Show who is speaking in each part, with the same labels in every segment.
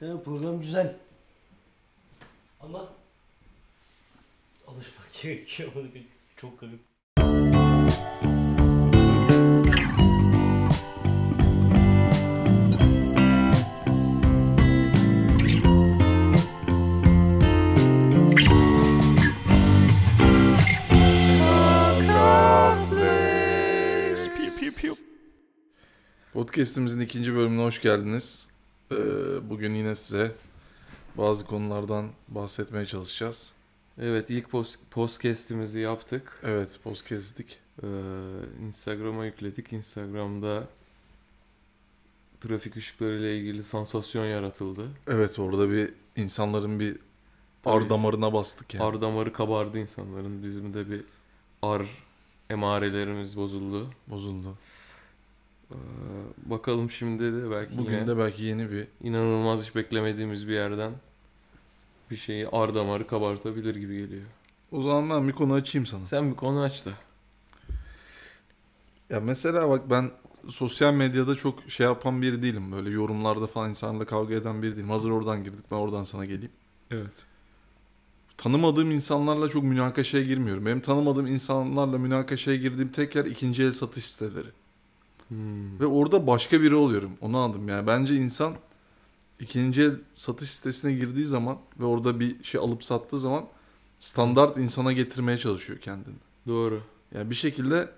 Speaker 1: He, program güzel. Ama alışmak gerekiyor. Bunu bir- Çok garip.
Speaker 2: Podcast'imizin ikinci bölümüne hoş geldiniz. Ee, Bugün yine size bazı konulardan bahsetmeye çalışacağız.
Speaker 3: Evet ilk post podcast'imizi yaptık.
Speaker 2: Evet, podcast'dik.
Speaker 3: Ee, Instagram'a yükledik. Instagram'da trafik ışıkları ile ilgili sansasyon yaratıldı.
Speaker 2: Evet, orada bir insanların bir ar
Speaker 3: Tabii.
Speaker 2: damarına bastık yani.
Speaker 3: Ar damarı kabardı insanların. Bizim de bir ar emarelerimiz bozuldu.
Speaker 2: Bozuldu.
Speaker 3: Ee, bakalım şimdi de belki
Speaker 2: Bugün
Speaker 3: yine
Speaker 2: de belki yeni bir
Speaker 3: inanılmaz hiç beklemediğimiz bir yerden bir şeyi ar damarı kabartabilir gibi geliyor.
Speaker 2: O zaman ben bir konu açayım sana.
Speaker 3: Sen bir konu aç da.
Speaker 2: Ya mesela bak ben sosyal medyada çok şey yapan biri değilim. Böyle yorumlarda falan insanlarla kavga eden biri değilim. Hazır oradan girdik ben oradan sana geleyim.
Speaker 3: Evet.
Speaker 2: Tanımadığım insanlarla çok münakaşaya girmiyorum. Benim tanımadığım insanlarla münakaşaya girdiğim tek yer ikinci el satış siteleri.
Speaker 3: Hmm,
Speaker 2: Ve orada başka biri oluyorum. Onu anladım yani. Bence insan ikinci el satış sitesine girdiği zaman ve orada bir şey alıp sattığı zaman standart insana getirmeye çalışıyor kendini.
Speaker 3: Doğru.
Speaker 2: Yani bir şekilde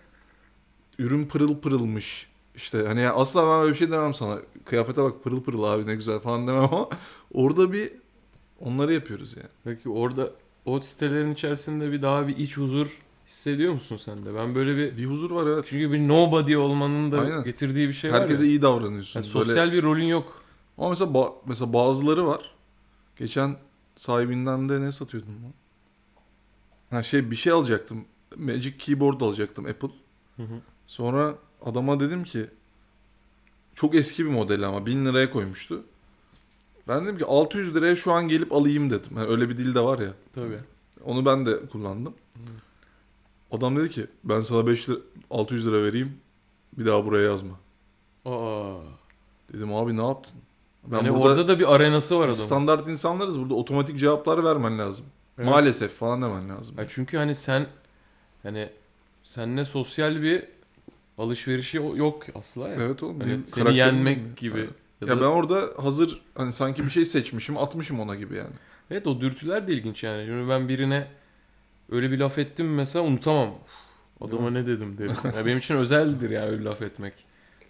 Speaker 2: ürün pırıl pırılmış. İşte hani ya asla ben öyle bir şey demem sana. Kıyafete bak pırıl pırıl abi ne güzel falan demem ama orada bir onları yapıyoruz yani.
Speaker 3: Peki orada o sitelerin içerisinde bir daha bir iç huzur hissediyor musun sen de? Ben böyle bir
Speaker 2: Bir huzur var evet.
Speaker 3: çünkü bir nobody olmanın da
Speaker 2: Aynen.
Speaker 3: getirdiği bir şey
Speaker 2: Herkese
Speaker 3: var ya.
Speaker 2: iyi davranıyorsun.
Speaker 3: Yani
Speaker 2: Böyle-
Speaker 3: sosyal bir rolün yok.
Speaker 2: Ama mesela, ba- mesela bazıları var. Geçen sahibinden de ne satıyordum lan? Ha şey bir şey alacaktım. Magic Keyboard alacaktım Apple.
Speaker 3: Hı hı.
Speaker 2: Sonra adama dedim ki çok eski bir model ama 1000 liraya koymuştu. Ben dedim ki 600 liraya şu an gelip alayım dedim. Yani öyle bir dil de var ya.
Speaker 3: Tabii.
Speaker 2: Onu ben de kullandım.
Speaker 3: Hmm.
Speaker 2: Adam dedi ki ben sana 5 lira, 600 lira vereyim. Bir daha buraya yazma.
Speaker 3: Aa.
Speaker 2: Dedim abi ne yaptın? Ben
Speaker 3: yani
Speaker 2: burada-
Speaker 3: orada da bir arenası var adamın.
Speaker 2: Standart insanlarız burada otomatik cevaplar vermen lazım.
Speaker 3: Evet.
Speaker 2: Maalesef falan demen lazım.
Speaker 3: Ya çünkü hani sen hani seninle sosyal bir alışverişi o- yok asla ya.
Speaker 2: Evet oğlum.
Speaker 3: Hani
Speaker 2: benim
Speaker 3: seni
Speaker 2: karakterim
Speaker 3: yenmek
Speaker 2: bu.
Speaker 3: gibi.
Speaker 2: Evet.
Speaker 3: Ya
Speaker 2: Ya
Speaker 3: da-
Speaker 2: ben orada hazır hani sanki bir şey seçmişim atmışım ona gibi yani.
Speaker 3: Evet o dürtüler de ilginç yani. Şimdi ben birine öyle bir laf ettim mi mesela unutamam. Uf, adama ne dedim derim. Yani benim için özeldir yani öyle laf etmek.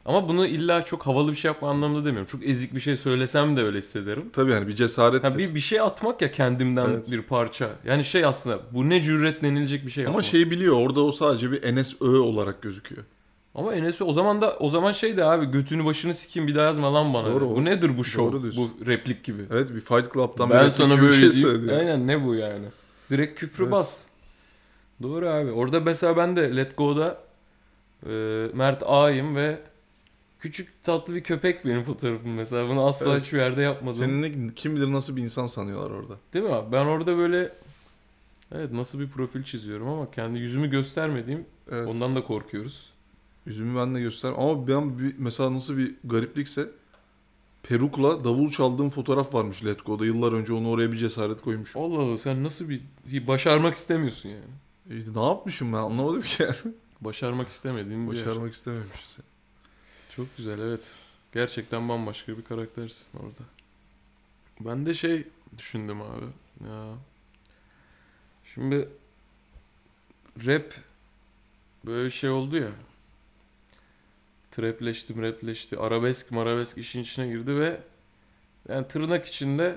Speaker 3: Ama bunu illa çok havalı bir şey yapma anlamında demiyorum. Çok ezik bir şey söylesem de öyle hissederim.
Speaker 2: Tabii yani bir cesaret.
Speaker 3: Ha, bir, bir şey atmak ya kendimden
Speaker 2: Evet.
Speaker 3: bir parça. Yani şey aslında bu ne cüret denilecek bir şey
Speaker 2: Ama
Speaker 3: yapmak.
Speaker 2: şey biliyor orada o sadece bir NSÖ olarak gözüküyor.
Speaker 3: Ama Enes o zaman da o zaman şey de abi götünü başını sikeyim bir daha yazma lan bana.
Speaker 2: Doğru,
Speaker 3: de. bu
Speaker 2: o-
Speaker 3: nedir bu şov?
Speaker 2: Doğru diyorsun.
Speaker 3: Bu replik gibi.
Speaker 2: Evet bir Fight Club'dan
Speaker 3: ben
Speaker 2: birisi
Speaker 3: sana
Speaker 2: gibi bir
Speaker 3: böyle
Speaker 2: şey
Speaker 3: diyeyim.
Speaker 2: söyledi.
Speaker 3: Aynen ne bu yani. Direkt küfrü
Speaker 2: Evet.
Speaker 3: bas. Doğru abi. Orada mesela ben de Let Go'da e, Mert A'yım ve küçük tatlı bir köpek benim fotoğrafım mesela. Bunu asla
Speaker 2: Evet.
Speaker 3: hiçbir yerde yapmadım.
Speaker 2: Senin ne- kim bilir nasıl bir insan sanıyorlar orada.
Speaker 3: Değil mi abi? Ben orada böyle evet nasıl bir profil çiziyorum ama kendi yüzümü göstermediğim
Speaker 2: Evet.
Speaker 3: ondan da korkuyoruz.
Speaker 2: Yüzümü ben de göster. Ama ben bir- mesela nasıl bir gariplikse perukla davul çaldığım fotoğraf varmış Letgo'da. Yıllar önce onu oraya bir cesaret koymuşum.
Speaker 3: Allah Allah sen nasıl bir bir başarmak istemiyorsun yani.
Speaker 2: E, ne yapmışım ben anlamadım ki yani.
Speaker 3: Başarmak istemediğin bir yer.
Speaker 2: Başarmak istememişsin.
Speaker 3: Çok güzel evet. Gerçekten bambaşka bir karaktersin orada. Ben de şey düşündüm abi. Ya. Şimdi rap böyle bir şey oldu ya. Trapleşti, rapleşti. Arabesk, marabesk işin içine girdi ve yani tırnak içinde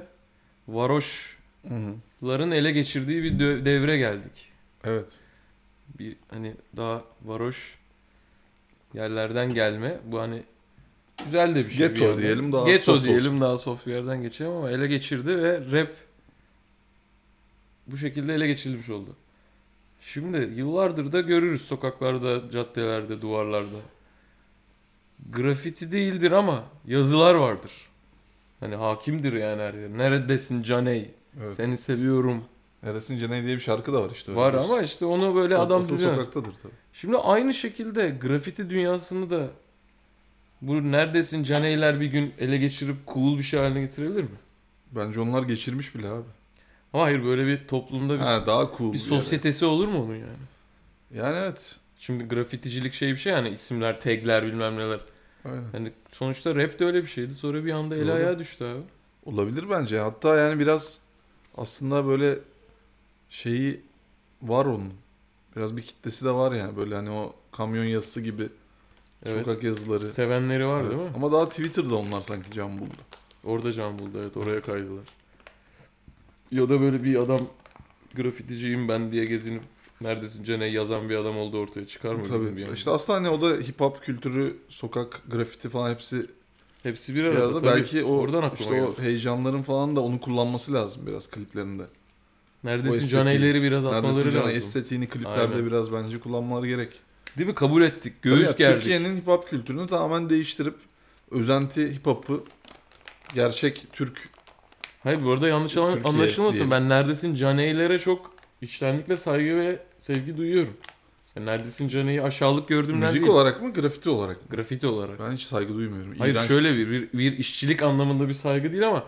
Speaker 3: varoşların ele geçirdiği bir dö- devre geldik.
Speaker 2: Evet.
Speaker 3: bir hani daha varoş yerlerden gelme. Bu hani güzel de bir şey. bir
Speaker 2: Ghetto
Speaker 3: yandan.
Speaker 2: diyelim daha
Speaker 3: Ghetto
Speaker 2: soft
Speaker 3: diyelim
Speaker 2: olsun.
Speaker 3: daha soft bir yerden geçelim ama ele geçirdi ve rap bu şekilde ele geçirilmiş oldu. Şimdi yıllardır da görürüz sokaklarda, caddelerde, duvarlarda. Grafiti değildir ama yazılar vardır. Hani hakimdir yani her yer. Neredesin Caney?
Speaker 2: evet.
Speaker 3: Seni seviyorum.
Speaker 2: Eresin Ceney diye bir şarkı da var işte. öyle
Speaker 3: Var
Speaker 2: biliyorsun.
Speaker 3: ama işte onu böyle
Speaker 2: O
Speaker 3: adam
Speaker 2: asıl
Speaker 3: dinliyor.
Speaker 2: sokaktadır tabii.
Speaker 3: Şimdi aynı şekilde grafiti dünyasını da Bu neredesin caneyler bir gün ele geçirip cool bir şey haline getirebilir mi?
Speaker 2: Bence onlar geçirmiş bile abi.
Speaker 3: Ama hayır böyle bir toplumda bir,
Speaker 2: Ha, daha cool.
Speaker 3: bir
Speaker 2: yere.
Speaker 3: sosyetesi olur mu onun yani?
Speaker 2: Yani evet.
Speaker 3: Şimdi grafiticilik şey bir şey yani isimler, tagler bilmem neler.
Speaker 2: Aynen.
Speaker 3: Yani sonuçta rap de öyle bir şeydi. Sonra bir anda el
Speaker 2: Doğru.
Speaker 3: ayağa düştü abi.
Speaker 2: Olabilir bence. Hatta yani biraz aslında böyle şeyi var onun. Biraz bir kitlesi de var yani. Böyle hani o kamyon yazısı gibi
Speaker 3: Evet.
Speaker 2: sokak yazıları.
Speaker 3: Sevenleri var
Speaker 2: Evet.
Speaker 3: değil mi?
Speaker 2: Ama daha Twitter'da onlar sanki can buldu.
Speaker 3: Orada can buldu evet oraya kaydılar. Ya da böyle bir adam grafiticiyim ben diye gezinip neredesin Cene yazan bir adam oldu ortaya çıkar mı?
Speaker 2: Tabii.
Speaker 3: bilmiyorum yani.
Speaker 2: İşte aslında hani o da hip hop kültürü, sokak, grafiti falan hepsi
Speaker 3: Hepsi bir
Speaker 2: bir
Speaker 3: arada.
Speaker 2: arada.
Speaker 3: tabii.
Speaker 2: Belki o
Speaker 3: Oradan aklıma
Speaker 2: işte
Speaker 3: geldi.
Speaker 2: o heyecanların falan da onu kullanması lazım biraz kliplerinde. o
Speaker 3: Neredesin
Speaker 2: estetiği-
Speaker 3: Caneyleri biraz
Speaker 2: Neredesin
Speaker 3: atmaları
Speaker 2: canım?
Speaker 3: lazım.
Speaker 2: Estetiğini kliplerde
Speaker 3: Aynen.
Speaker 2: biraz bence kullanmaları gerek.
Speaker 3: Değil mi? Kabul ettik.
Speaker 2: Tabii
Speaker 3: Göğüs
Speaker 2: ya,
Speaker 3: gerdik.
Speaker 2: Türkiye'nin hip hop kültürünü tamamen değiştirip özenti hip hop'u gerçek Türk
Speaker 3: Hayır bu arada yanlış an-
Speaker 2: Türkiye
Speaker 3: anlaşılmasın.
Speaker 2: diyelim.
Speaker 3: Ben Neredesin Caneylere çok içtenlikle saygı ve sevgi duyuyorum. Yani Neredesin Caney'i aşağılık gördüğümden
Speaker 2: müzik
Speaker 3: değil.
Speaker 2: olarak mı grafiti olarak mı?
Speaker 3: Grafiti olarak.
Speaker 2: Ben hiç saygı duymuyorum.
Speaker 3: Hayır
Speaker 2: İğrenç.
Speaker 3: şöyle bir, bir bir işçilik anlamında bir saygı değil ama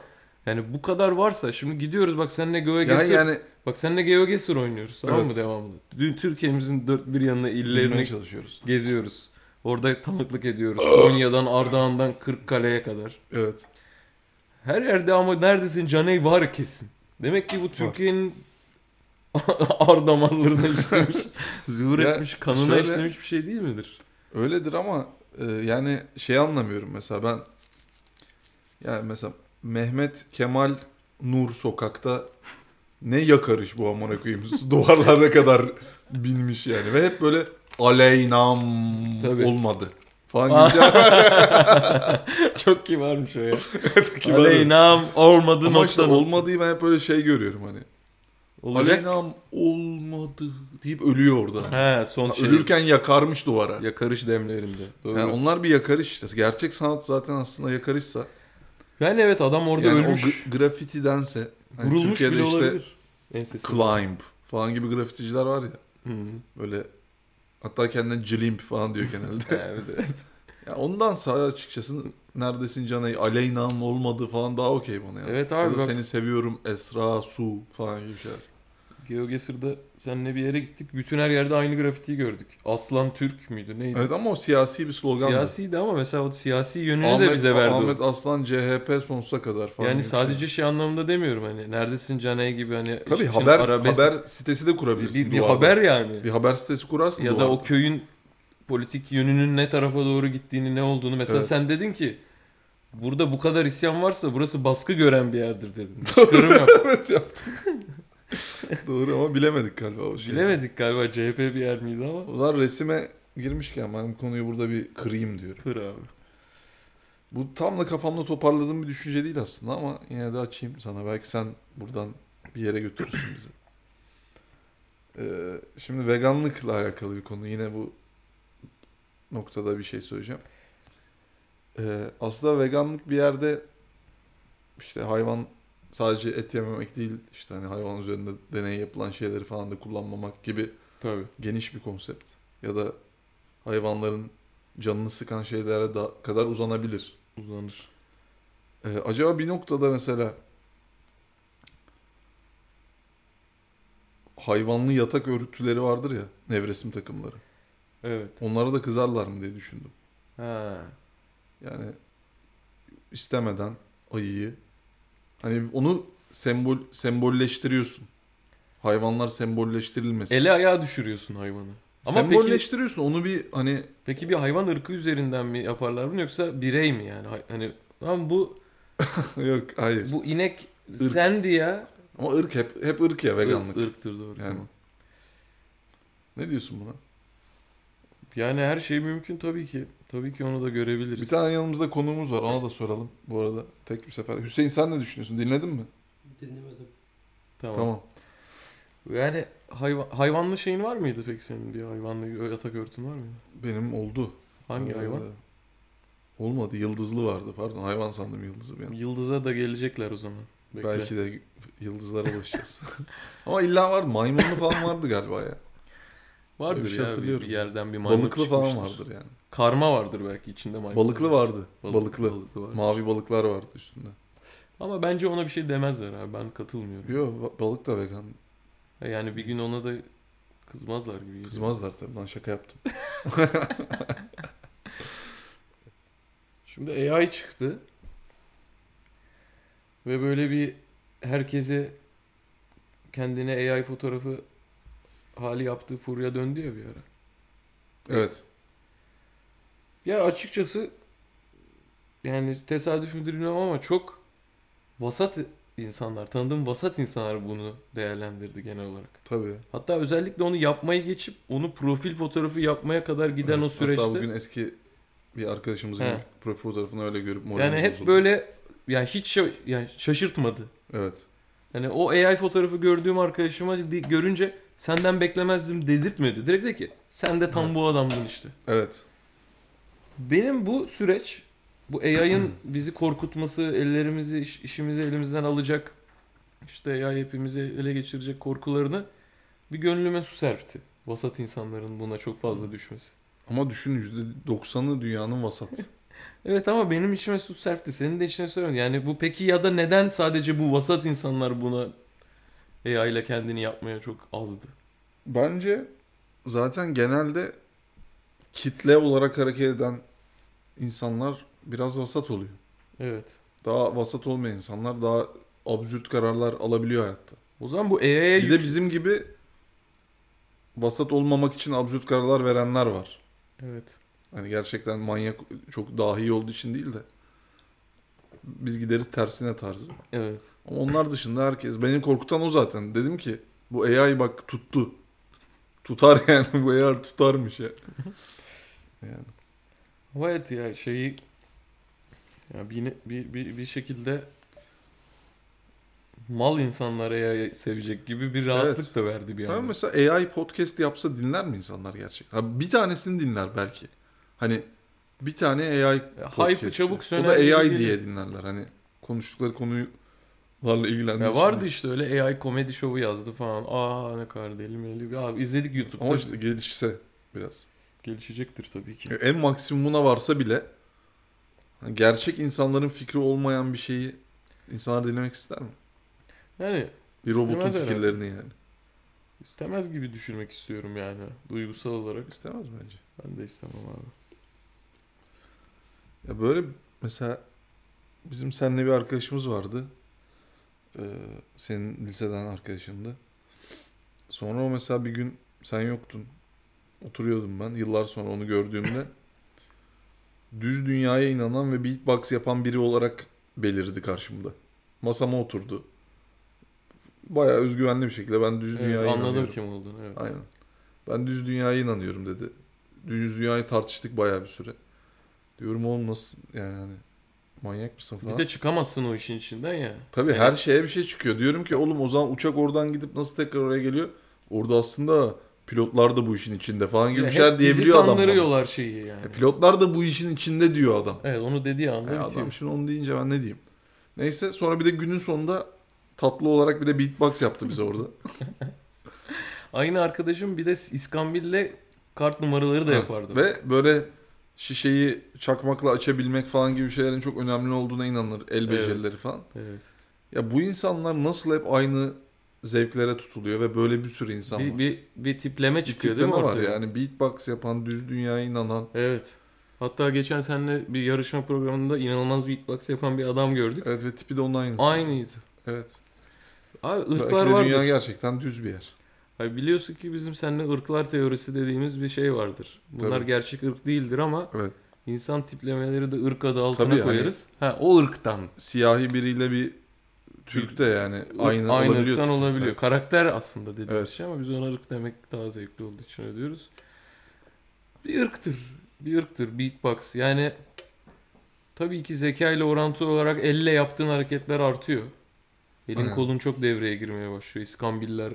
Speaker 3: yani bu kadar varsa şimdi gidiyoruz bak seninle
Speaker 2: ya
Speaker 3: GeoGesir
Speaker 2: yani
Speaker 3: bak seninle GeoGesir oynuyoruz tamam mı
Speaker 2: Evet.
Speaker 3: devamlı. Dün Türkiye'mizin dört bir yanına
Speaker 2: bilmeye
Speaker 3: illerini
Speaker 2: çalışıyoruz.
Speaker 3: geziyoruz. Orada tanıklık ediyoruz. Konya'dan Ardahan'dan Kırıkkale'ye kadar.
Speaker 2: Evet.
Speaker 3: Her yerde ama neredesin Caney var kesin. Demek ki bu Türkiye'nin ar damarlarına işlemiş, zuhur
Speaker 2: Ya
Speaker 3: etmiş, kanına
Speaker 2: şöyle-
Speaker 3: işlemiş bir şey değil midir?
Speaker 2: Öyledir ama e, yani şey anlamıyorum mesela ben yani mesela Mehmet Kemal Nur sokakta ne yakarış bu amına koyayım duvarlara kadar binmiş yani ve hep böyle aleynam
Speaker 3: Tabii.
Speaker 2: olmadı falan gibi bir-
Speaker 3: Çok kibarmış o ya.
Speaker 2: kibar.
Speaker 3: Aleynam olmadı
Speaker 2: Ama işte
Speaker 3: nokta.
Speaker 2: olmadığı ben hep böyle şey görüyorum hani.
Speaker 3: Olacak.
Speaker 2: Aleynam olmadı deyip ölüyor orada.
Speaker 3: He son
Speaker 2: Ha,
Speaker 3: şey.
Speaker 2: Ölürken yakarmış duvara.
Speaker 3: Yakarış demlerinde. Doğru.
Speaker 2: Yani
Speaker 3: Yani,
Speaker 2: onlar bir yakarış işte. Gerçek sanat zaten aslında yakarışsa.
Speaker 3: evet adam orada
Speaker 2: yani o
Speaker 3: ölmüş.
Speaker 2: gra- grafitidense. hani
Speaker 3: vurulmuş bile
Speaker 2: Türkiye'de işte
Speaker 3: olabilir. Ensesi.
Speaker 2: climb falan gibi grafiticiler var ya.
Speaker 3: Hı.
Speaker 2: Böyle hatta kendine cilimp falan diyor genelde.
Speaker 3: Yani de-
Speaker 2: ya ondan sonra açıkçası neredesin Canay aleynam olmadı falan daha okey bana ya.
Speaker 3: Evet abi
Speaker 2: Ya da
Speaker 3: bak-
Speaker 2: seni seviyorum Esra Su falan gibi şeyler.
Speaker 3: GeoGesir'de seninle bir yere gittik. Bütün her yerde aynı grafitiyi gördük. Aslan Türk müydü neydi?
Speaker 2: Evet ama o siyasi bir slogan.
Speaker 3: Siyasiydi ama mesela o siyasi yönünü de bize verdi o.
Speaker 2: Ahmet Aslan CHP sonsuza kadar falan.
Speaker 3: Yani
Speaker 2: gibi bir
Speaker 3: sadece
Speaker 2: şey.
Speaker 3: şey. anlamında demiyorum hani neredesin Caney gibi hani
Speaker 2: Tabii
Speaker 3: işin
Speaker 2: haber
Speaker 3: arabesk-
Speaker 2: haber sitesi de
Speaker 3: bir,
Speaker 2: kurabilirsin.
Speaker 3: bir, bir
Speaker 2: duvarda.
Speaker 3: haber yani.
Speaker 2: bir haber sitesi kurarsın
Speaker 3: ya da
Speaker 2: duvarda.
Speaker 3: o köyün politik yönünün ne tarafa doğru gittiğini ne olduğunu mesela
Speaker 2: Evet.
Speaker 3: sen dedin ki burada bu kadar isyan varsa burası baskı gören bir yerdir dedin. Çıkarım yaptın.
Speaker 2: evet yaptık. Doğru ama bilemedik galiba o şeyi.
Speaker 3: Bilemedik galiba CHP bir yer miydi ama.
Speaker 2: O zaman resime girmişken ben bu konuyu burada bir kırayım diyorum.
Speaker 3: Pır abi.
Speaker 2: Bu tam da kafamda toparladığım bir düşünce değil aslında ama yine de açayım sana. Belki sen buradan bir yere götürürsün bizi. Ee, şimdi veganlıkla alakalı bir konu. Yine bu noktada bir şey söyleyeceğim. Ee, aslında veganlık bir yerde işte hayvan sadece et yememek değil işte hani hayvan üzerinde deney yapılan şeyleri falan da kullanmamak gibi
Speaker 3: Tabii.
Speaker 2: geniş bir konsept. Ya da hayvanların canını sıkan şeylere da kadar uzanabilir.
Speaker 3: Uzanır.
Speaker 2: Ee, acaba bir noktada mesela hayvanlı yatak örtüleri vardır ya, nevresim takımları.
Speaker 3: Evet.
Speaker 2: Onlara da kızarlar mı diye düşündüm.
Speaker 3: Ha.
Speaker 2: Yani istemeden ayıyı hani onu sembol sembolleştiriyorsun. Hayvanlar sembolleştirilmesin.
Speaker 3: Ele ayağa düşürüyorsun hayvanı. Ama peki,
Speaker 2: sembolleştiriyorsun. Onu bir hani
Speaker 3: peki bir hayvan ırkı üzerinden mi yaparlar bunu yoksa birey mi yani? Hay- Hani tamam bu
Speaker 2: yok hayır.
Speaker 3: bu inek
Speaker 2: Irk.
Speaker 3: sendi ya.
Speaker 2: Ama ırk hep hep ırk ya veganlık.
Speaker 3: Ir- ırktır doğru.
Speaker 2: Yani.
Speaker 3: tamam.
Speaker 2: Ne diyorsun buna?
Speaker 3: Yani her şey mümkün tabii ki. Tabii ki onu da görebiliriz.
Speaker 2: Bir tane yanımızda konuğumuz var. Ona da soralım bu arada. Tek bir sefer. Hüseyin sen ne düşünüyorsun? Dinledin mi?
Speaker 1: Dinlemedim.
Speaker 3: Tamam.
Speaker 2: Tamam.
Speaker 3: Yani hayvan hayvanlı şeyin var mıydı peki senin bir hayvanlı yatak örtün var mıydı?
Speaker 2: Benim oldu.
Speaker 3: Hangi
Speaker 2: Ee,
Speaker 3: hayvan?
Speaker 2: Olmadı. Yıldızlı vardı. Pardon. Hayvan sandım yıldızı bir an.
Speaker 3: Yıldıza da gelecekler o zaman. Bekle.
Speaker 2: Belki de yıldızlara ulaşacağız. Ama illa vardı. Maymunlu falan vardı galiba ya.
Speaker 3: Vardır
Speaker 2: Öyle bir şey
Speaker 3: ya bir,
Speaker 2: hatırlıyorum.
Speaker 3: bir yerden bir maymun
Speaker 2: Balıklı falan
Speaker 3: çıkmıştır.
Speaker 2: vardır yani.
Speaker 3: Karma vardır belki içinde maymun.
Speaker 2: Balıklı vardı.
Speaker 3: Balık-
Speaker 2: balıklı.
Speaker 3: balıklı vardır.
Speaker 2: Mavi balıklar vardı üstünde.
Speaker 3: Ama bence ona bir şey demezler abi. Ben katılmıyorum. E,
Speaker 2: Yok balık da vegan.
Speaker 3: Yani bir gün ona da kızmazlar gibi. geliyor.
Speaker 2: Kızmazlar tabii lan şaka yaptım.
Speaker 3: Şimdi AI çıktı. Ve böyle bir herkese kendine AI fotoğrafı hali yaptığı furya döndü ya bir ara.
Speaker 2: Evet.
Speaker 3: Ya açıkçası yani tesadüf müdür bilmiyorum ama çok vasat insanlar, tanıdığım vasat insanlar bunu değerlendirdi genel olarak.
Speaker 2: Tabii.
Speaker 3: Hatta özellikle onu yapmayı geçip onu profil fotoğrafı yapmaya kadar giden o
Speaker 2: Evet,
Speaker 3: süreçte.
Speaker 2: Hatta bugün eski bir arkadaşımızın
Speaker 3: He.
Speaker 2: profil fotoğrafını öyle görüp
Speaker 3: yani
Speaker 2: moralimiz
Speaker 3: hep
Speaker 2: bozuldu.
Speaker 3: böyle yani hiç şa- yani şaşırtmadı.
Speaker 2: Evet.
Speaker 3: Yani o AI fotoğrafı gördüğüm arkadaşıma di- görünce senden beklemezdim dedirtmedi. Direkt de ki sen de tam bu adamdın işte.
Speaker 2: Evet.
Speaker 3: Benim bu süreç, bu AI'ın bizi korkutması, ellerimizi, iş- işimizi elimizden alacak, işte AI hepimizi ele geçirecek korkularını bir gönlüme su serpti. Vasat insanların buna çok fazla düşmesi.
Speaker 2: Ama düşün %90'ı dünyanın vasat.
Speaker 3: Evet ama benim içime su serpti. Senin de içine sorun. Yani bu peki ya da neden sadece bu vasat insanlar buna AI ile kendini yapmaya çok azdı?
Speaker 2: Bence zaten genelde kitle olarak hareket eden insanlar biraz vasat oluyor.
Speaker 3: Evet.
Speaker 2: Daha vasat olmayan insanlar daha absürt kararlar alabiliyor hayatta.
Speaker 3: O zaman bu AI'ye
Speaker 2: Bir de bizim gibi vasat olmamak için absürt kararlar verenler var.
Speaker 3: Evet.
Speaker 2: Hani gerçekten manyak çok dahi olduğu için değil de biz gideriz tersine tarzı.
Speaker 3: Evet.
Speaker 2: Ama onlar dışında herkes beni korkutan o zaten. Dedim ki bu AI bak tuttu. Tutar yani bu AI tutarmış ya. Yani
Speaker 3: Ama evet ya şeyi ya bir, bir, bir, bir şekilde mal insanlara ya sevecek gibi bir rahatlık
Speaker 2: Evet.
Speaker 3: da verdi bir
Speaker 2: Ama
Speaker 3: anda.
Speaker 2: mesela AI podcast yapsa dinler mi insanlar gerçekten? Ha, bir tanesini dinler belki. Hani bir tane AI
Speaker 3: Ya hype'ı
Speaker 2: podcast'i.
Speaker 3: çabuk
Speaker 2: O
Speaker 3: söner
Speaker 2: da
Speaker 3: gibi
Speaker 2: AI
Speaker 3: geliyor.
Speaker 2: diye dinlerler. Hani konuştukları konularla ilgilendiği
Speaker 3: Ya
Speaker 2: için
Speaker 3: vardı
Speaker 2: değil.
Speaker 3: işte öyle AI komedi şovu yazdı falan. Aa ne kadar deli meli. bir- Abi izledik YouTube'da.
Speaker 2: Ama işte gelişse biraz.
Speaker 3: Gelişecektir tabii ki.
Speaker 2: Ya E, En maksimumuna varsa bile hani gerçek insanların fikri olmayan bir şeyi insanlar dinlemek ister mi?
Speaker 3: Yani
Speaker 2: Bir robotun
Speaker 3: İstemez herhalde.
Speaker 2: fikirlerini yani.
Speaker 3: istemez gibi düşünmek istiyorum yani. Duygusal olarak
Speaker 2: İstemez bence.
Speaker 3: ben de istemem abi.
Speaker 2: Ya böyle mesela bizim seninle bir arkadaşımız vardı. Ee, senin liseden arkadaşındı. Sonra o mesela bir gün sen yoktun. Oturuyordum ben. Yıllar sonra onu gördüğümde düz dünyaya inanan ve beatbox yapan biri olarak belirdi karşımda. Masama oturdu. Bayağı özgüvenli bir şekilde ben düz
Speaker 3: Evet,
Speaker 2: dünyaya
Speaker 3: Ee, anladım
Speaker 2: inanıyorum.
Speaker 3: kim olduğunu evet.
Speaker 2: Aynen. Ben düz dünyaya inanıyorum dedi. Düz dünyayı tartıştık bayağı bir süre. Diyorum oğlum nasıl yani hani manyak mısın falan.
Speaker 3: Bir de çıkamazsın o işin içinden ya.
Speaker 2: Tabii
Speaker 3: Yani
Speaker 2: her şeye bir şey çıkıyor. Diyorum ki oğlum o zaman uçak oradan gidip nasıl tekrar oraya geliyor? Orada aslında pilotlar da bu işin içinde falan gibi bir
Speaker 3: hep
Speaker 2: şeyler
Speaker 3: bizi
Speaker 2: diyebiliyor adam. bana.
Speaker 3: kandırıyorlar şeyi yani.
Speaker 2: E, Pilotlar da bu işin içinde diyor adam.
Speaker 3: Evet onu dediği anda
Speaker 2: E,
Speaker 3: bitiyor.
Speaker 2: adam şimdi onu deyince ben ne diyeyim? Neyse sonra bir de günün sonunda tatlı olarak bir de beatbox yaptı bize orada.
Speaker 3: Aynı arkadaşım bir de İskambil'le kart numaraları da
Speaker 2: Ha,
Speaker 3: yapardı.
Speaker 2: Ve böyle şişeyi çakmakla açabilmek falan gibi şeylerin çok önemli olduğuna inanılır. El
Speaker 3: Evet.
Speaker 2: becerileri falan.
Speaker 3: Evet.
Speaker 2: Ya bu insanlar nasıl hep aynı zevklere tutuluyor ve böyle bir sürü insan
Speaker 3: Bir,
Speaker 2: var.
Speaker 3: bir, bir tipleme
Speaker 2: Bir
Speaker 3: çıkıyor
Speaker 2: tipleme
Speaker 3: değil mi
Speaker 2: var
Speaker 3: ortaya?
Speaker 2: yani beatbox yapan, düz dünyaya inanan.
Speaker 3: Evet. Hatta geçen seninle bir yarışma programında inanılmaz beatbox yapan bir adam gördük.
Speaker 2: Evet ve tipi de onun aynısı.
Speaker 3: Aynıydı.
Speaker 2: Evet.
Speaker 3: Abi
Speaker 2: Belki
Speaker 3: ırklar
Speaker 2: de
Speaker 3: vardır.
Speaker 2: dünya gerçekten düz bir yer.
Speaker 3: Hayır, biliyorsun ki bizim seninle ırklar teorisi dediğimiz bir şey vardır. Bunlar
Speaker 2: Tabii.
Speaker 3: gerçek ırk değildir ama
Speaker 2: Evet.
Speaker 3: insan tiplemeleri de ırk adı altına
Speaker 2: Tabii, hani-
Speaker 3: koyarız. Ha o ırktan.
Speaker 2: Siyahi biriyle bir Türk de yani aynı,
Speaker 3: aynı
Speaker 2: olabiliyor.
Speaker 3: ırktan
Speaker 2: tipi.
Speaker 3: olabiliyor.
Speaker 2: Evet.
Speaker 3: Karakter aslında dediğimiz
Speaker 2: Evet.
Speaker 3: şey ama biz ona ırk demek daha zevkli olduğu için ödüyoruz. Bir ırktır. Bir ırktır beatbox. Yani tabii ki zeka ile orantılı olarak elle yaptığın hareketler artıyor. Elin
Speaker 2: Aynen.
Speaker 3: kolun çok devreye girmeye başlıyor. İskambiller,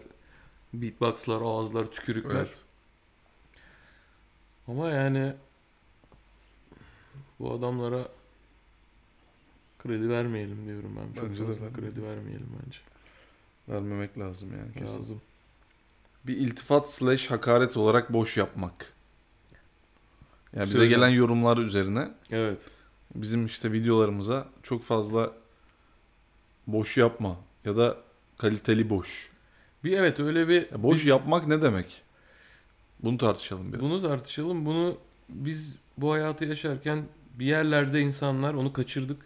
Speaker 3: beatboxlar, ağızlar, tükürükler.
Speaker 2: Evet.
Speaker 3: Ama yani bu adamlara kredi vermeyelim diyorum ben. Çok
Speaker 2: Bence de
Speaker 3: fazla
Speaker 2: ben-
Speaker 3: kredi vermeyelim bence.
Speaker 2: Vermemek lazım yani kesin.
Speaker 3: Lazım.
Speaker 2: bir iltifat slash hakaret olarak boş yapmak. Yani bize
Speaker 3: Güzel.
Speaker 2: gelen yorumlar üzerine
Speaker 3: Evet.
Speaker 2: bizim işte videolarımıza çok fazla boş yapma ya da kaliteli boş.
Speaker 3: Bir evet öyle bir
Speaker 2: Ya boş
Speaker 3: biz-
Speaker 2: yapmak ne demek? Bunu tartışalım biraz.
Speaker 3: Bunu tartışalım. Bunu biz bu hayatı yaşarken bir yerlerde insanlar onu kaçırdık.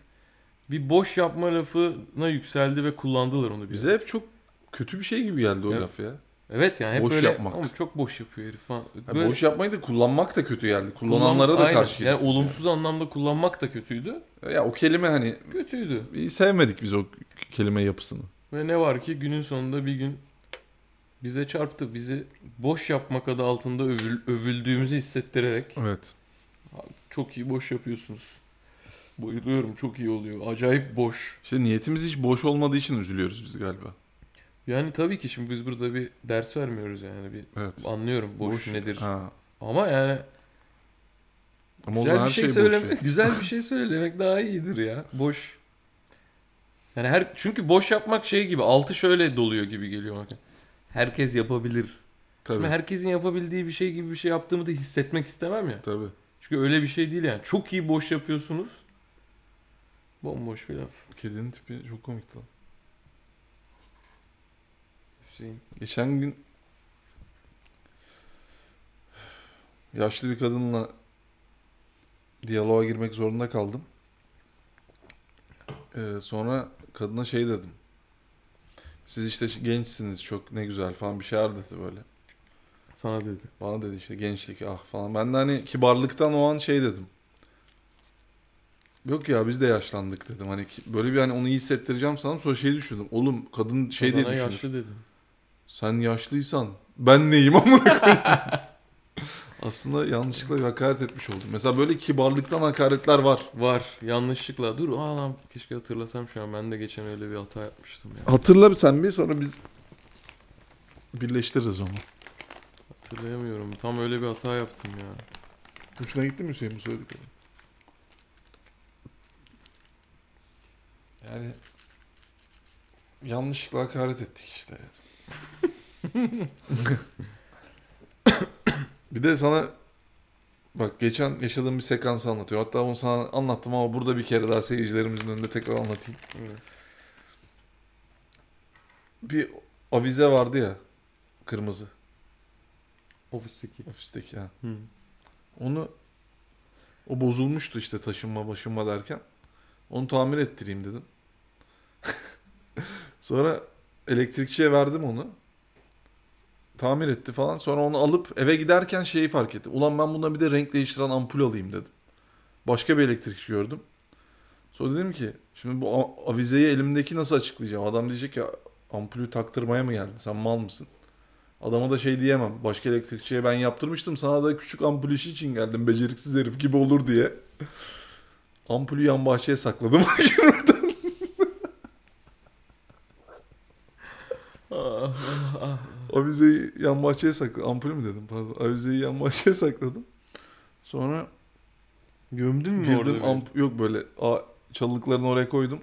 Speaker 3: Bir boş yapma lafına yükseldi ve kullandılar onu bize.
Speaker 2: bize hep çok kötü bir şey gibi geldi o
Speaker 3: Evet.
Speaker 2: laf ya.
Speaker 3: Evet yani hep
Speaker 2: Boş
Speaker 3: böyle
Speaker 2: yapmak.
Speaker 3: Oğlum çok boş yapıyor herif falan.
Speaker 2: Ya
Speaker 3: Böyle
Speaker 2: boş yapmayı da kullanmak da kötü geldi.
Speaker 3: kullan-
Speaker 2: Kullananlara da
Speaker 3: Aynen.
Speaker 2: karşı
Speaker 3: Yani
Speaker 2: geliyoruz
Speaker 3: olumsuz anlamda kullanmak da kötüydü.
Speaker 2: ya. ya o kelime hani
Speaker 3: Kötüydü.
Speaker 2: sevmedik biz o kelime yapısını.
Speaker 3: Ve ne var ki günün sonunda bir gün bize çarptı. Bizi boş yapmak adı altında övül- övüldüğümüzü hissettirerek
Speaker 2: Evet.
Speaker 3: çok iyi boş yapıyorsunuz. Bayılıyorum çok iyi oluyor. Acayip boş.
Speaker 2: İşte niyetimiz hiç boş olmadığı için üzülüyoruz biz galiba.
Speaker 3: Yani tabii ki şimdi biz burada bir ders vermiyoruz yani bir
Speaker 2: Evet.
Speaker 3: anlıyorum boş, nedir.
Speaker 2: Ha.
Speaker 3: Ama yani
Speaker 2: Ama o
Speaker 3: güzel
Speaker 2: zaman
Speaker 3: bir
Speaker 2: her
Speaker 3: şey,
Speaker 2: şey,
Speaker 3: söylemek
Speaker 2: boş. ya.
Speaker 3: güzel bir şey söylemek daha iyidir ya. Boş. Yani her çünkü boş yapmak şey gibi altı şöyle doluyor gibi geliyor bana. Herkes yapabilir.
Speaker 2: Tabii.
Speaker 3: Şimdi herkesin yapabildiği bir şey gibi bir şey yaptığımı da hissetmek istemem ya.
Speaker 2: Tabii.
Speaker 3: Çünkü öyle bir şey değil yani. Çok iyi boş yapıyorsunuz. Bomboş bir laf.
Speaker 2: Kedinin tipi çok komikti lan.
Speaker 3: Hüseyin.
Speaker 2: Geçen gün yaşlı bir kadınla diyaloğa girmek zorunda kaldım. Ee, sonra kadına şey dedim. Siz işte gençsiniz çok ne güzel falan bir şeyler dedi böyle.
Speaker 3: Sana dedi.
Speaker 2: Bana dedi işte gençlik ah falan. Ben de hani kibarlıktan o an şey dedim. Yok ya biz de yaşlandık dedim. Hani ki- böyle bir hani onu iyi hissettireceğim sana sonra şey düşündüm. Oğlum kadın şey diye
Speaker 3: Kadına
Speaker 2: düşünür.
Speaker 3: yaşlı dedim.
Speaker 2: Sen yaşlıysan ben neyim amına koyayım. Aslında yanlışlıkla bir hakaret etmiş oldum. Mesela böyle kibarlıktan hakaretler var.
Speaker 3: Var. Yanlışlıkla. Dur aa lan keşke hatırlasam şu an. Ben de geçen öyle bir hata yapmıştım ya.
Speaker 2: Hatırla bir sen bir sonra biz birleştiririz onu.
Speaker 3: Hatırlayamıyorum. Tam öyle bir hata yaptım ya.
Speaker 2: Hoşuna gitti mi Hüseyin bu söylediklerim? Yani yanlışlıkla hakaret ettik işte. yani. bir de sana bak geçen yaşadığım bir sekansı anlatıyorum. Hatta onu sana anlattım ama burada bir kere daha seyircilerimizin önünde tekrar anlatayım.
Speaker 3: Evet.
Speaker 2: Bir avize vardı ya kırmızı
Speaker 3: Ofisteki.
Speaker 2: ofisteki ha. Onu o bozulmuştu işte taşınma başınma derken. Onu tamir ettireyim dedim. Sonra elektrikçiye verdim onu. Tamir etti falan. Sonra onu alıp eve giderken şeyi fark etti. Ulan ben buna bir de renk değiştiren ampul alayım dedim. Başka bir elektrikçi gördüm. Sonra dedim ki şimdi bu a- avizeyi elimdeki nasıl açıklayacağım? Adam diyecek ya ampulü taktırmaya mı geldin? Sen mal mısın? Adama da şey diyemem. Başka elektrikçiye ben yaptırmıştım. Sana da küçük ampul işi için geldim. Beceriksiz herif gibi olur diye. Ampulü yan bahçeye sakladım. Avizeyi yan bahçeye sakladım. Ampulü mü dedim pardon. Avizeyi yan bahçeye sakladım. Sonra
Speaker 3: Gömdün mü orada?
Speaker 2: girdim
Speaker 3: beni?
Speaker 2: amp yok böyle a, çalılıklarını oraya koydum.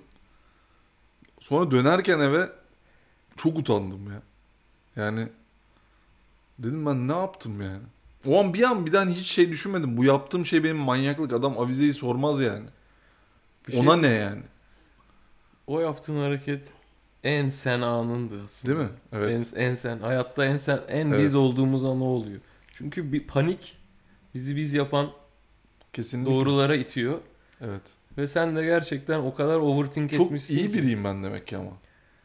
Speaker 2: Sonra dönerken eve çok utandım ya. Yani dedim ben ne yaptım yani. O an bir an birden hiç şey düşünmedim. Bu yaptığım şey benim manyaklık. Adam avizeyi sormaz yani.
Speaker 3: Bir şey-
Speaker 2: Ona ne yani?
Speaker 3: O yaptığın hareket en sen anındı aslında.
Speaker 2: Değil mi? Evet.
Speaker 3: En, en sen. Hayatta en sen. En
Speaker 2: Evet.
Speaker 3: biz olduğumuz an o oluyor. Çünkü bir panik bizi biz yapan
Speaker 2: Kesinlikle.
Speaker 3: doğrulara itiyor.
Speaker 2: Evet.
Speaker 3: Ve sen de gerçekten o kadar overthink
Speaker 2: Çok
Speaker 3: etmişsin.
Speaker 2: iyi
Speaker 3: ki.
Speaker 2: biriyim ben demek ki ama.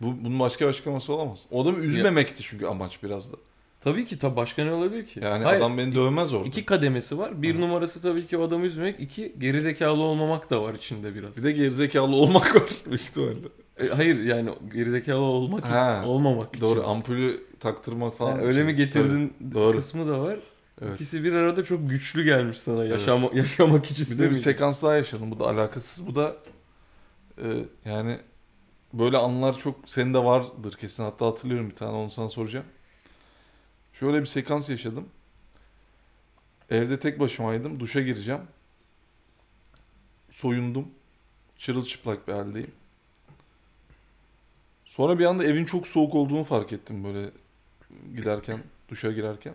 Speaker 2: Bu, bunun başka bir açıklaması olamaz. O adamı üzmemekti çünkü amaç biraz da.
Speaker 3: Tabii ki tabii başka ne olabilir ki?
Speaker 2: Yani
Speaker 3: Hayır,
Speaker 2: adam beni dövmez orada.
Speaker 3: iki kademesi var. Bir
Speaker 2: Hı.
Speaker 3: numarası tabii ki o adamı üzmemek. iki gerizekalı olmamak da var içinde biraz.
Speaker 2: Bir de gerizekalı olmak var. Büyük ihtimalle.
Speaker 3: E, hayır yani gerizekalı olmak
Speaker 2: Ha.
Speaker 3: olmamak için.
Speaker 2: Doğru ampulü taktırmak falan.
Speaker 3: Yani öyle mi getirdin
Speaker 2: Doğru.
Speaker 3: kısmı da var.
Speaker 2: Tabii, evet.
Speaker 3: İkisi bir arada çok güçlü gelmiş sana yaşama, yaşamak için.
Speaker 2: Bir de bir sekans daha yaşadım. Bu da alakasız. Bu da e, yani böyle anlar çok senin de vardır kesin. Hatta hatırlıyorum bir tane onu sana soracağım. Şöyle bir sekans yaşadım. Evde tek başımaydım. Duşa gireceğim. Soyundum. Çırılçıplak bir haldeyim. Sonra bir anda evin çok soğuk olduğunu fark ettim böyle giderken duşa girerken.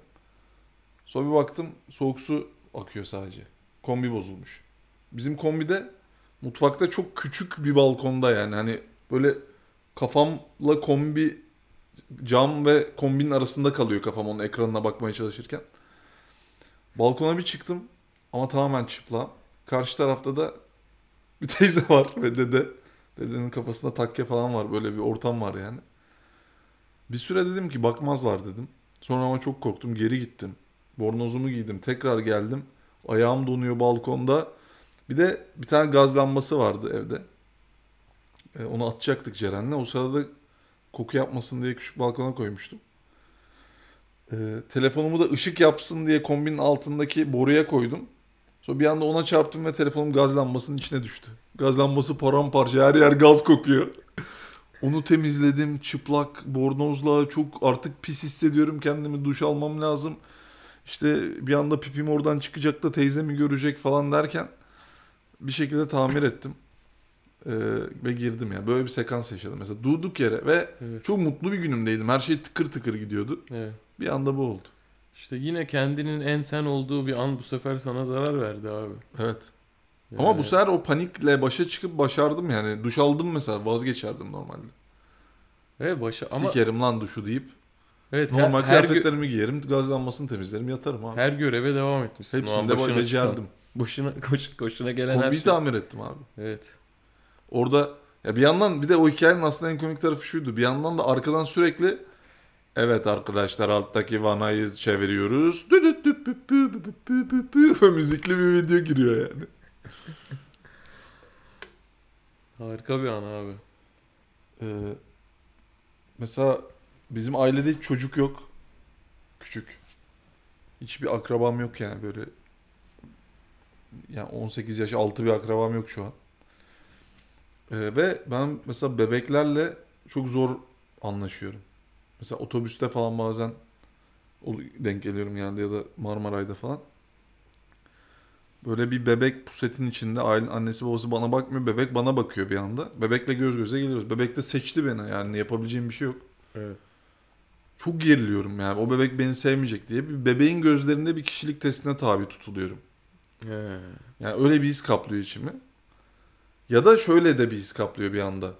Speaker 2: Sonra bir baktım soğuk su akıyor sadece. Kombi bozulmuş. Bizim kombide mutfakta çok küçük bir balkonda yani hani böyle kafamla kombi cam ve kombinin arasında kalıyor kafam onun ekranına bakmaya çalışırken. Balkona bir çıktım ama tamamen çıplak. Karşı tarafta da bir teyze var ve dede. Dedenin kafasında takke falan var. Böyle bir ortam var yani. Bir süre dedim ki bakmazlar dedim. Sonra ama çok korktum. Geri gittim. Bornozumu giydim. Tekrar geldim. Ayağım donuyor balkonda. Bir de bir tane gaz lambası vardı evde. E, onu atacaktık Ceren'le. O sırada koku yapmasın diye küçük balkona koymuştum. E, telefonumu da ışık yapsın diye kombinin altındaki boruya koydum. Sonra bir anda ona çarptım ve telefonum gaz lambasının içine düştü. Gaz lambası paramparça her yer gaz kokuyor. Onu temizledim çıplak bornozla çok artık pis hissediyorum kendimi duş almam lazım. İşte bir anda pipim oradan çıkacak da teyzemi görecek falan derken bir şekilde tamir ettim. Ee, ve girdim ya. Böyle bir sekans yaşadım. Mesela durduk yere ve
Speaker 3: Evet.
Speaker 2: çok mutlu bir günümdeydim. Her şey tıkır tıkır gidiyordu.
Speaker 3: Evet.
Speaker 2: Bir anda bu oldu.
Speaker 3: İşte yine kendinin en sen olduğu bir an bu sefer sana zarar verdi abi.
Speaker 2: Evet.
Speaker 3: Yani-
Speaker 2: Ama bu sefer o panikle başa çıkıp başardım yani. Duş aldım mesela vazgeçerdim normalde.
Speaker 3: Evet başa ama
Speaker 2: Sikerim lan duşu deyip.
Speaker 3: evet her,
Speaker 2: Normal
Speaker 3: her, gö-
Speaker 2: kıyafetlerimi giyerim, gazlanmasını temizlerim, yatarım abi.
Speaker 3: her göreve devam etmişsin. O an
Speaker 2: Hepsinde
Speaker 3: başına
Speaker 2: Hepsini de
Speaker 3: çıkan-
Speaker 2: becerdim.
Speaker 3: Boşuna koş, koşuna gelen her
Speaker 2: Kombiyi
Speaker 3: şey.
Speaker 2: tamir ettim abi.
Speaker 3: Evet.
Speaker 2: Orada ya bir yandan bir de o hikayenin aslında en komik tarafı şuydu. Bir yandan da arkadan sürekli evet arkadaşlar alttaki vanayı çeviriyoruz. Dü dü dü pü pü pü pü pü pü pü. Böyle Müzikli bir video giriyor yani.
Speaker 3: Harika bir an abi.
Speaker 2: Ee, mesela bizim ailede hiç çocuk yok. Küçük. Hiçbir akrabam yok yani böyle. Yani 18 yaş altı bir akrabam yok şu an. Ee, ve ben mesela bebeklerle çok zor anlaşıyorum. Mesela otobüste falan bazen ol- denk geliyorum yani ya da Marmaray'da falan. Böyle bir bebek pusetin içinde ailen annesi babası bana bakmıyor. Bebek bana bakıyor bir anda. Bebekle göz göze geliyoruz. Bebek de seçti beni yani yapabileceğim bir şey yok.
Speaker 3: Evet.
Speaker 2: Çok geriliyorum yani o bebek beni sevmeyecek diye. Bir bebeğin gözlerinde bir kişilik testine tabi tutuluyorum. Yani öyle bir his kaplıyor içimi. Ya da şöyle de bir his kaplıyor bir anda.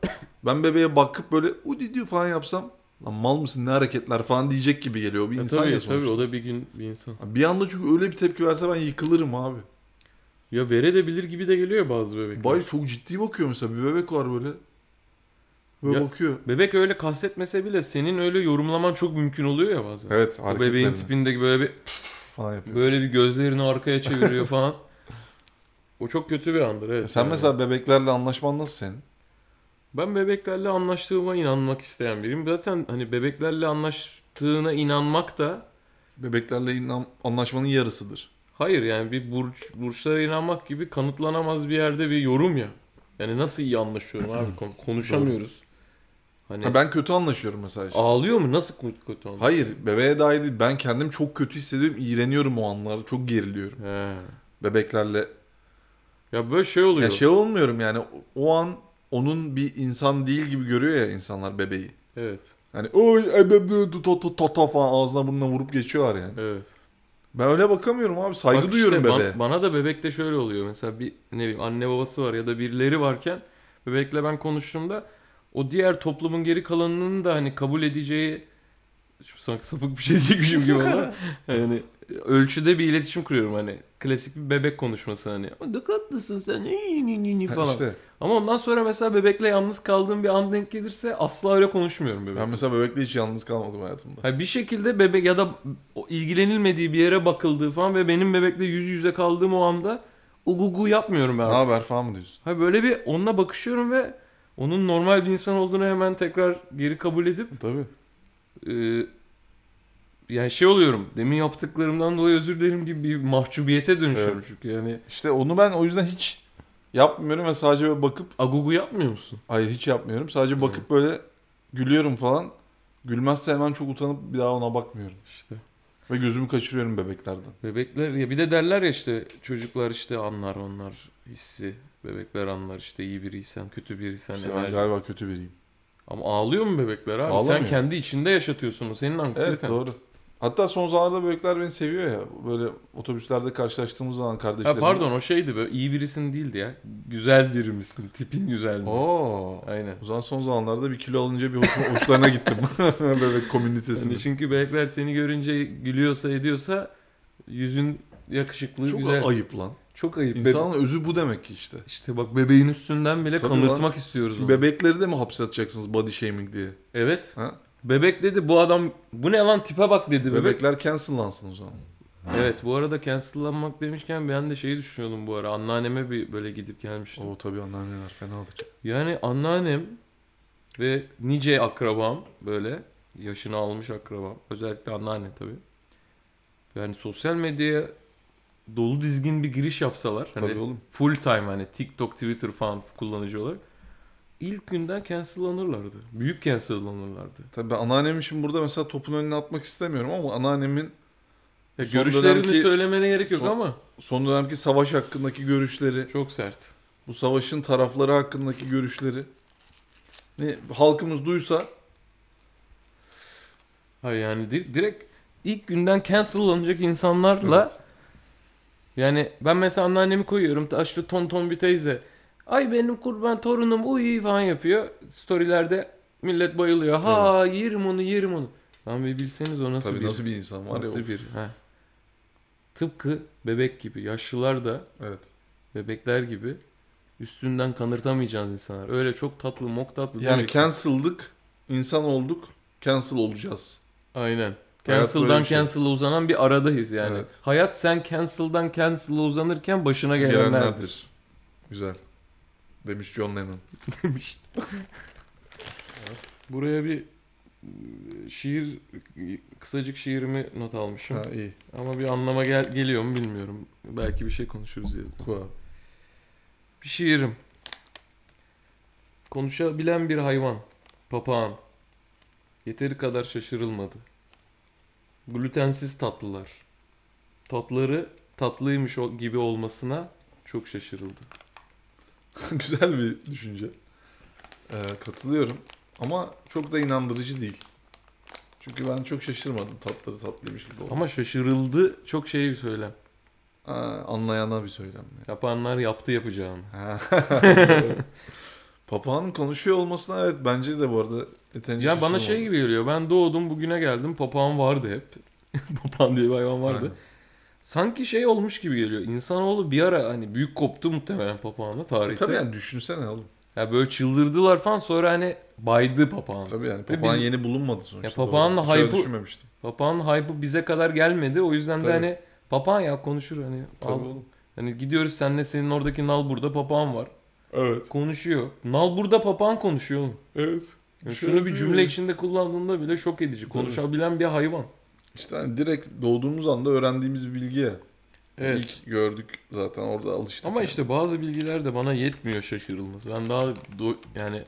Speaker 2: Ben bebeğe bakıp böyle udidü falan yapsam lan mal mısın ne hareketler falan diyecek gibi geliyor. O Bir
Speaker 3: Ya
Speaker 2: insan
Speaker 3: E, tabii
Speaker 2: ya
Speaker 3: tabii
Speaker 2: sonuçta.
Speaker 3: o da bir gün bir insan.
Speaker 2: Bir anda çünkü öyle bir tepki verse ben yıkılırım abi.
Speaker 3: Ya verebilir gibi de geliyor bazı bebekler.
Speaker 2: Bay çok ciddi bakıyor mesela bir bebek var böyle. Böyle
Speaker 3: Ya-
Speaker 2: bakıyor.
Speaker 3: Bebek öyle kastetmese bile senin öyle yorumlaman çok mümkün oluyor ya bazen.
Speaker 2: Evet
Speaker 3: O bebeğin tipinde böyle bir
Speaker 2: falan yapıyor.
Speaker 3: böyle bir gözlerini arkaya çeviriyor falan. O çok kötü bir andır evet.
Speaker 2: Sen
Speaker 3: yani.
Speaker 2: mesela bebeklerle anlaşman nasıl senin?
Speaker 3: ben bebeklerle anlaştığıma inanmak isteyen biriyim. Zaten hani bebeklerle anlaştığına inanmak da
Speaker 2: Bebeklerle inan- anlaşmanın yarısıdır.
Speaker 3: hayır yani bir burç burçlara inanmak gibi kanıtlanamaz bir yerde bir yorum ya. Yani nasıl iyi anlaşıyorum abi Kon- konuşamıyoruz. Hani
Speaker 2: Ha, ben kötü anlaşıyorum mesela işte.
Speaker 3: ağlıyor mu? Nasıl kötü kötü anlaşıyor?
Speaker 2: Hayır bebeğe dair değil. Ben kendim çok kötü hissediyorum. iğreniyorum o anlarda. Çok geriliyorum.
Speaker 3: He.
Speaker 2: Bebeklerle.
Speaker 3: Ya böyle şey oluyor.
Speaker 2: Ya şey olmuyorum yani o- o an onun bir insan değil gibi görüyor ya insanlar bebeği.
Speaker 3: Evet.
Speaker 2: Hani oy ebe bu, tu, tu, tu, tu, tu" falan ağzına burnuna vurup geçiyorlar yani.
Speaker 3: Evet.
Speaker 2: Ben öyle bakamıyorum abi. Saygı
Speaker 3: Bak işte
Speaker 2: duyuyorum
Speaker 3: ban-
Speaker 2: bebeğe.
Speaker 3: bana da bebekte şöyle oluyor. Mesela bir ne bileyim anne babası var ya da birileri varken bebekle ben konuştuğumda o diğer toplumun geri kalanının da hani kabul edeceği şu sanki sapık bir şey diyecekmişim gibi ama yani ölçüde bir iletişim kuruyorum hani klasik bir bebek konuşması hani dikkatlısın sen ni, ni, ni, ni"
Speaker 2: Ha,
Speaker 3: falan.
Speaker 2: İşte.
Speaker 3: Ama ondan sonra mesela bebekle yalnız kaldığım bir an denk gelirse asla öyle konuşmuyorum bebek.
Speaker 2: Ben mesela bebekle hiç yalnız kalmadım hayatımda.
Speaker 3: Ha bir şekilde bebek ya da o ilgilenilmediği bir yere bakıldığı falan ve benim bebekle yüz yüze kaldığım o anda ugugu yapmıyorum ben
Speaker 2: Ne
Speaker 3: artık.
Speaker 2: haber falan mı diyorsun?
Speaker 3: Ha böyle bir onunla bakışıyorum ve onun normal bir insan olduğunu hemen tekrar geri kabul edip
Speaker 2: Tabii.
Speaker 3: e, yani şey oluyorum. Demin yaptıklarımdan dolayı özür dilerim gibi bir mahcubiyete dönüşüyorum
Speaker 2: Evet.
Speaker 3: çünkü yani
Speaker 2: İşte onu ben o yüzden hiç yapmıyorum ve sadece böyle bakıp
Speaker 3: agugu yapmıyor musun?
Speaker 2: hayır hiç yapmıyorum. Sadece bakıp böyle gülüyorum falan. Gülmezse hemen çok utanıp bir daha ona bakmıyorum.
Speaker 3: İşte
Speaker 2: Ve gözümü kaçırıyorum bebeklerden.
Speaker 3: bebekler ya bir de derler ya işte çocuklar işte anlar onlar hissi. Bebekler anlar işte iyi biriysen kötü biriysen.
Speaker 2: İşte ben
Speaker 3: enerji-
Speaker 2: galiba kötü biriyim.
Speaker 3: Ama ağlıyor mu bebekler abi?
Speaker 2: Ağlamıyor.
Speaker 3: Sen kendi içinde yaşatıyorsun. o Senin
Speaker 2: Evet
Speaker 3: anksiyeten.
Speaker 2: doğru. Hatta son zamanlarda börekler beni seviyor ya. Böyle otobüslerde karşılaştığımız zaman
Speaker 3: Ha,
Speaker 2: kardeşlerim.
Speaker 3: pardon o şeydi be. iyi birisin değildi ya. Güzel biri misin? Tipin güzel mi?
Speaker 2: Oo.
Speaker 3: Aynen.
Speaker 2: Hmm. O zaman son zamanlarda bir kilo alınca bir hoşuma- hoşlarına gittim. Bebek komünitesinde.
Speaker 3: Yani çünkü bebekler seni görünce gülüyorsa ediyorsa yüzün yakışıklı,
Speaker 2: Çok
Speaker 3: güzel.
Speaker 2: ayıp lan.
Speaker 3: Çok ayıp. Bebe-
Speaker 2: İnsanın özü bu demek ki işte.
Speaker 3: İşte bak bebeğin üstünden bile
Speaker 2: Tabii
Speaker 3: kanırtmak istiyoruz onu.
Speaker 2: Bebekleri de mi hapse atacaksınız body shaming diye?
Speaker 3: Evet.
Speaker 2: Ha?
Speaker 3: Bebek dedi bu adam bu ne lan tipe bak dedi bebek.
Speaker 2: Bebekler cancellansın o zaman.
Speaker 3: Evet bu arada cancellanmak demişken ben de şeyi düşünüyordum bu ara. Anneanneme bir böyle gidip gelmiştim.
Speaker 2: Oo tabii anneanneler fenadır.
Speaker 3: Yani anneannem ve nice akrabam böyle yaşını almış akrabam. Özellikle anneanne tabii. Yani sosyal medyaya dolu dizgin bir giriş yapsalar. Hani
Speaker 2: Tabii oğlum.
Speaker 3: full time hani TikTok, Twitter falan kullanıcı olarak. ilk günden cancellanırlardı. Büyük cancellanırlardı.
Speaker 2: Tabii ben anneannemi şimdi burada mesela topun önüne atmak istemiyorum ama anneannemin
Speaker 3: Ya
Speaker 2: Son
Speaker 3: görüşlerini
Speaker 2: dönemki-
Speaker 3: söylemene gerek yok
Speaker 2: son-
Speaker 3: ama
Speaker 2: son dönemki savaş hakkındaki görüşleri,
Speaker 3: çok sert.
Speaker 2: bu savaşın tarafları hakkındaki görüşleri ne halkımız duysa
Speaker 3: Hayır yani di- direkt ilk günden cancellanacak insanlarla
Speaker 2: Evet.
Speaker 3: yani ben mesela anneannemi koyuyorum taşlı tonton bir teyze. Ay benim kurban torunum uy falan yapıyor. Storylerde millet bayılıyor. Ha yerim onu yerim onu. Lan bir bilseniz o nasıl
Speaker 2: tabii
Speaker 3: bir
Speaker 2: nasıl bir insan var
Speaker 3: nasıl
Speaker 2: ya.
Speaker 3: bir ha. Tıpkı bebek gibi yaşlılar da
Speaker 2: Evet.
Speaker 3: bebekler gibi üstünden kanırtamayacağınız insanlar. Öyle çok tatlı mok tatlı
Speaker 2: Yani
Speaker 3: diyeceksin.
Speaker 2: cancel'dık, insan olduk, cancel olacağız.
Speaker 3: Aynen.
Speaker 2: Hayat böyle
Speaker 3: Cancel'dan
Speaker 2: bir şey.
Speaker 3: cancel'a uzanan bir aradayız yani.
Speaker 2: Evet.
Speaker 3: Hayat sen cancel'dan cancel'a uzanırken başına gelenlerdir.
Speaker 2: Gelenlerdir. Güzel. Demiş John Lennon.
Speaker 3: Buraya bir e, şiir kısacık şiirimi not almışım.
Speaker 2: Ha iyi.
Speaker 3: Ama bir anlama gel- geliyor mu bilmiyorum. Belki bir şey konuşuruz diye.
Speaker 2: Kua.
Speaker 3: Bir şiirim. Konuşabilen bir hayvan. Papağan. Yeteri kadar şaşırılmadı. Glutensiz tatlılar. Tatları tatlıymış o- gibi olmasına çok şaşırıldı.
Speaker 2: Güzel bir düşünce. Ee, katılıyorum. Ama çok da inandırıcı değil. Çünkü ben çok şaşırmadım tatları tatlıymış gibi oldu.
Speaker 3: Ama şaşırıldı çok şey bir söylem.
Speaker 2: Aa, anlayana bir söylem. ya.
Speaker 3: Yapanlar yaptı yapacağını.
Speaker 2: Ha. Papağanın konuşuyor olmasına evet bence de bu arada yeterince
Speaker 3: Ya bana
Speaker 2: şaşırmadım.
Speaker 3: şey gibi geliyor. Ben doğdum bugüne geldim. Papağan vardı hep. Papağan diye bir hayvan vardı.
Speaker 2: Aynen.
Speaker 3: Sanki şey olmuş gibi geliyor. İnsanoğlu bir ara hani büyük koptu muhtemelen papağanla
Speaker 2: E,
Speaker 3: tarihte.
Speaker 2: tabii yani düşünsene oğlum.
Speaker 3: Ya böyle çıldırdılar falan sonra hani baydı papağan.
Speaker 2: Tabii yani papağan
Speaker 3: biz-
Speaker 2: yeni bulunmadı sonuçta.
Speaker 3: Ya papağanla
Speaker 2: doğru. Hiç öyle
Speaker 3: hype'ı-
Speaker 2: düşünmemiştim.
Speaker 3: Papağanın hype'ı bize kadar gelmedi. O yüzden
Speaker 2: Tabii.
Speaker 3: de hani papağan ya konuşur hani.
Speaker 2: Tabii
Speaker 3: al.
Speaker 2: oğlum.
Speaker 3: Hani gidiyoruz senle senin oradaki nal burada papağan var.
Speaker 2: Evet.
Speaker 3: Konuşuyor. Nal burada papağan konuşuyor oğlum.
Speaker 2: Evet.
Speaker 3: Yani
Speaker 2: Şöyle
Speaker 3: şunu bir
Speaker 2: bir-
Speaker 3: cümle içinde kullandığında bile şok edici. Konuşabilen bir hayvan.
Speaker 2: İşte hani direkt doğduğumuz anda öğrendiğimiz bir bilgi ya. İlk gördük zaten orada alıştık.
Speaker 3: Ama
Speaker 2: yani.
Speaker 3: işte bazı bilgiler de bana yetmiyor şaşırılması. Ben daha do- yani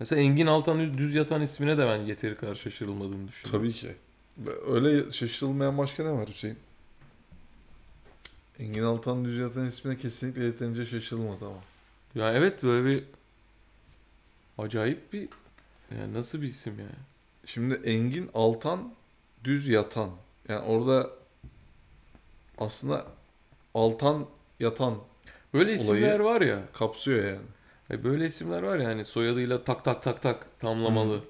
Speaker 3: mesela Engin Altan Düz Yatan ismine de ben yeteri kadar şaşırılmadığını düşünüyorum.
Speaker 2: Tabii ki. Öyle şaşırılmayan başka ne var Hüseyin? Engin Altan Düz Yatan ismine kesinlikle yeterince şaşırılmadı ama.
Speaker 3: Ya evet böyle bir acayip bir yani nasıl bir isim yani.
Speaker 2: Şimdi Engin Altan Düz Yatan. Yani orada aslında Altan Yatan
Speaker 3: Böyle isimler var ya.
Speaker 2: kapsıyor yani.
Speaker 3: e, Böyle isimler var ya hani soyadıyla tak tak tak tak tamlamalı. Şimdi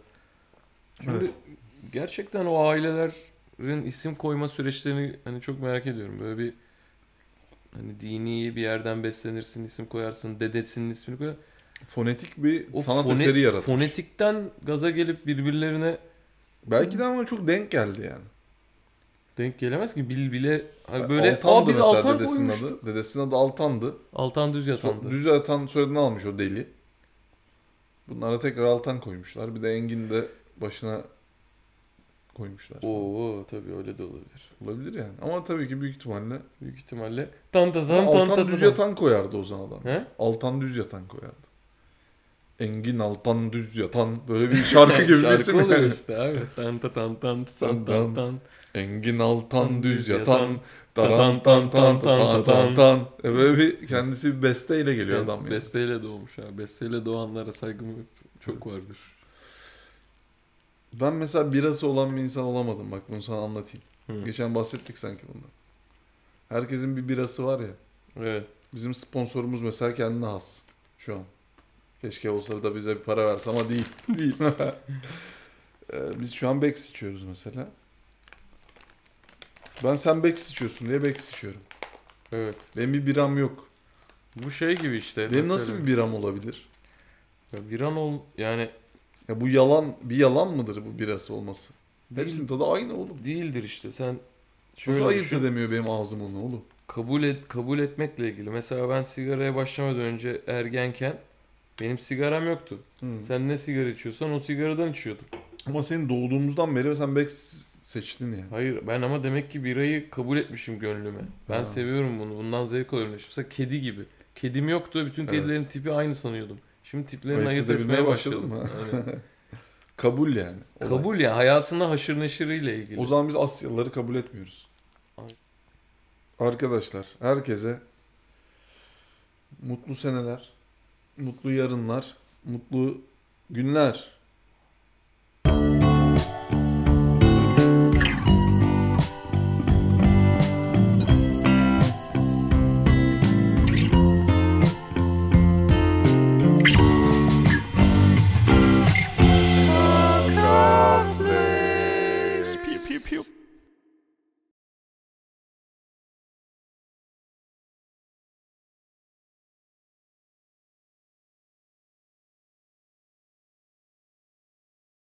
Speaker 2: Evet.
Speaker 3: gerçekten o ailelerin isim koyma süreçlerini hani çok merak ediyorum. Böyle bir hani dini bir yerden beslenirsin, isim koyarsın, dedesinin ismini koyar.
Speaker 2: Fonetik bir
Speaker 3: O
Speaker 2: sanat
Speaker 3: fone-
Speaker 2: eseri yaratmış.
Speaker 3: Fonetikten gaza gelip birbirlerine
Speaker 2: Belki de ama çok denk geldi yani.
Speaker 3: denk gelemez ki bil bile hani böyle
Speaker 2: Altan'dı
Speaker 3: aa biz
Speaker 2: mesela
Speaker 3: Altan
Speaker 2: dedesinin
Speaker 3: koymuş.
Speaker 2: adı. Dedesinin adı Altan'dı.
Speaker 3: Altan düz yatandı.
Speaker 2: Son, düz Altan soyadını almış o deli. Bunlara tekrar Altan koymuşlar. Bir de Engin de başına koymuşlar.
Speaker 3: Oo tabii öyle de olabilir.
Speaker 2: Olabilir yani. Ama tabii ki büyük ihtimalle
Speaker 3: Büyük ihtimalle tan tan tan tan
Speaker 2: Altan
Speaker 3: tan
Speaker 2: düz
Speaker 3: tan.
Speaker 2: yatan koyardı o zaman adam.
Speaker 3: He?
Speaker 2: Altan düz yatan koyardı. Engin Altan düz yatan böyle bir şarkı gibi bir
Speaker 3: Şarkı
Speaker 2: isim yani.
Speaker 3: oluyor işte abi. Tan tan tan tan tan tan tan.
Speaker 2: Engin Altan
Speaker 3: Tan
Speaker 2: düz
Speaker 3: düz
Speaker 2: yatan
Speaker 3: yatan.
Speaker 2: taran tan tan tan tan tan. E Böyle bir kendisi bir besteyle geliyor adam yani.
Speaker 3: Besteyle doğmuş abi. Besteyle doğanlara saygım çok vardır.
Speaker 2: Ben mesela birası olan bir insan olamadım. Bak bunu sana anlatayım.
Speaker 3: Hı.
Speaker 2: Geçen bahsettik sanki bundan. Herkesin bir birası var ya.
Speaker 3: Evet.
Speaker 2: Bizim sponsorumuz mesela kendine has şu an. Keşke olsa da bize bir para verse ama değil. değil. Ee, Biz şu an Bex içiyoruz mesela. Ben sen Bex içiyorsun diye Bex içiyorum.
Speaker 3: Evet.
Speaker 2: Benim bir biram yok.
Speaker 3: Bu şey gibi işte.
Speaker 2: Benim nasıl bir biram olabilir?
Speaker 3: Ya bir an ol yani
Speaker 2: Ya bu yalan bir yalan mıdır bu birası olması?
Speaker 3: Değil.
Speaker 2: Hepsinin tadı aynı oğlum.
Speaker 3: değildir işte. Sen şöyle
Speaker 2: Nasıl ayırt
Speaker 3: düşün.
Speaker 2: edemiyor şey benim ağzım onu oğlum?
Speaker 3: kabul et, kabul etmekle ilgili. Mesela ben sigaraya başlamadan önce ergenken benim sigaram yoktu. Sen ne sigara içiyorsan o sigaradan içiyordum.
Speaker 2: Ama senin doğduğumuzdan beri sen Bex seçtin yani.
Speaker 3: Hayır ben ama demek ki birayı kabul etmişim gönlüme. Ben
Speaker 2: Ha.
Speaker 3: seviyorum bunu. Bundan zevk alıyorum. Mesela kedi gibi. Kedim yoktu. Bütün
Speaker 2: Evet.
Speaker 3: kedilerin tipi aynı sanıyordum. Şimdi tiplerini
Speaker 2: Ayırt
Speaker 3: ayırt
Speaker 2: edebilmeye
Speaker 3: etmeye
Speaker 2: başladın
Speaker 3: başladım.
Speaker 2: mı?
Speaker 3: Aynen.
Speaker 2: Kabul yani. olay.
Speaker 3: kabul ya. Hayatında haşır neşiriyle ilgili.
Speaker 2: O zaman biz Asyalıları kabul etmiyoruz.
Speaker 3: Aynen.
Speaker 2: Arkadaşlar herkese mutlu seneler, mutlu yarınlar, mutlu günler.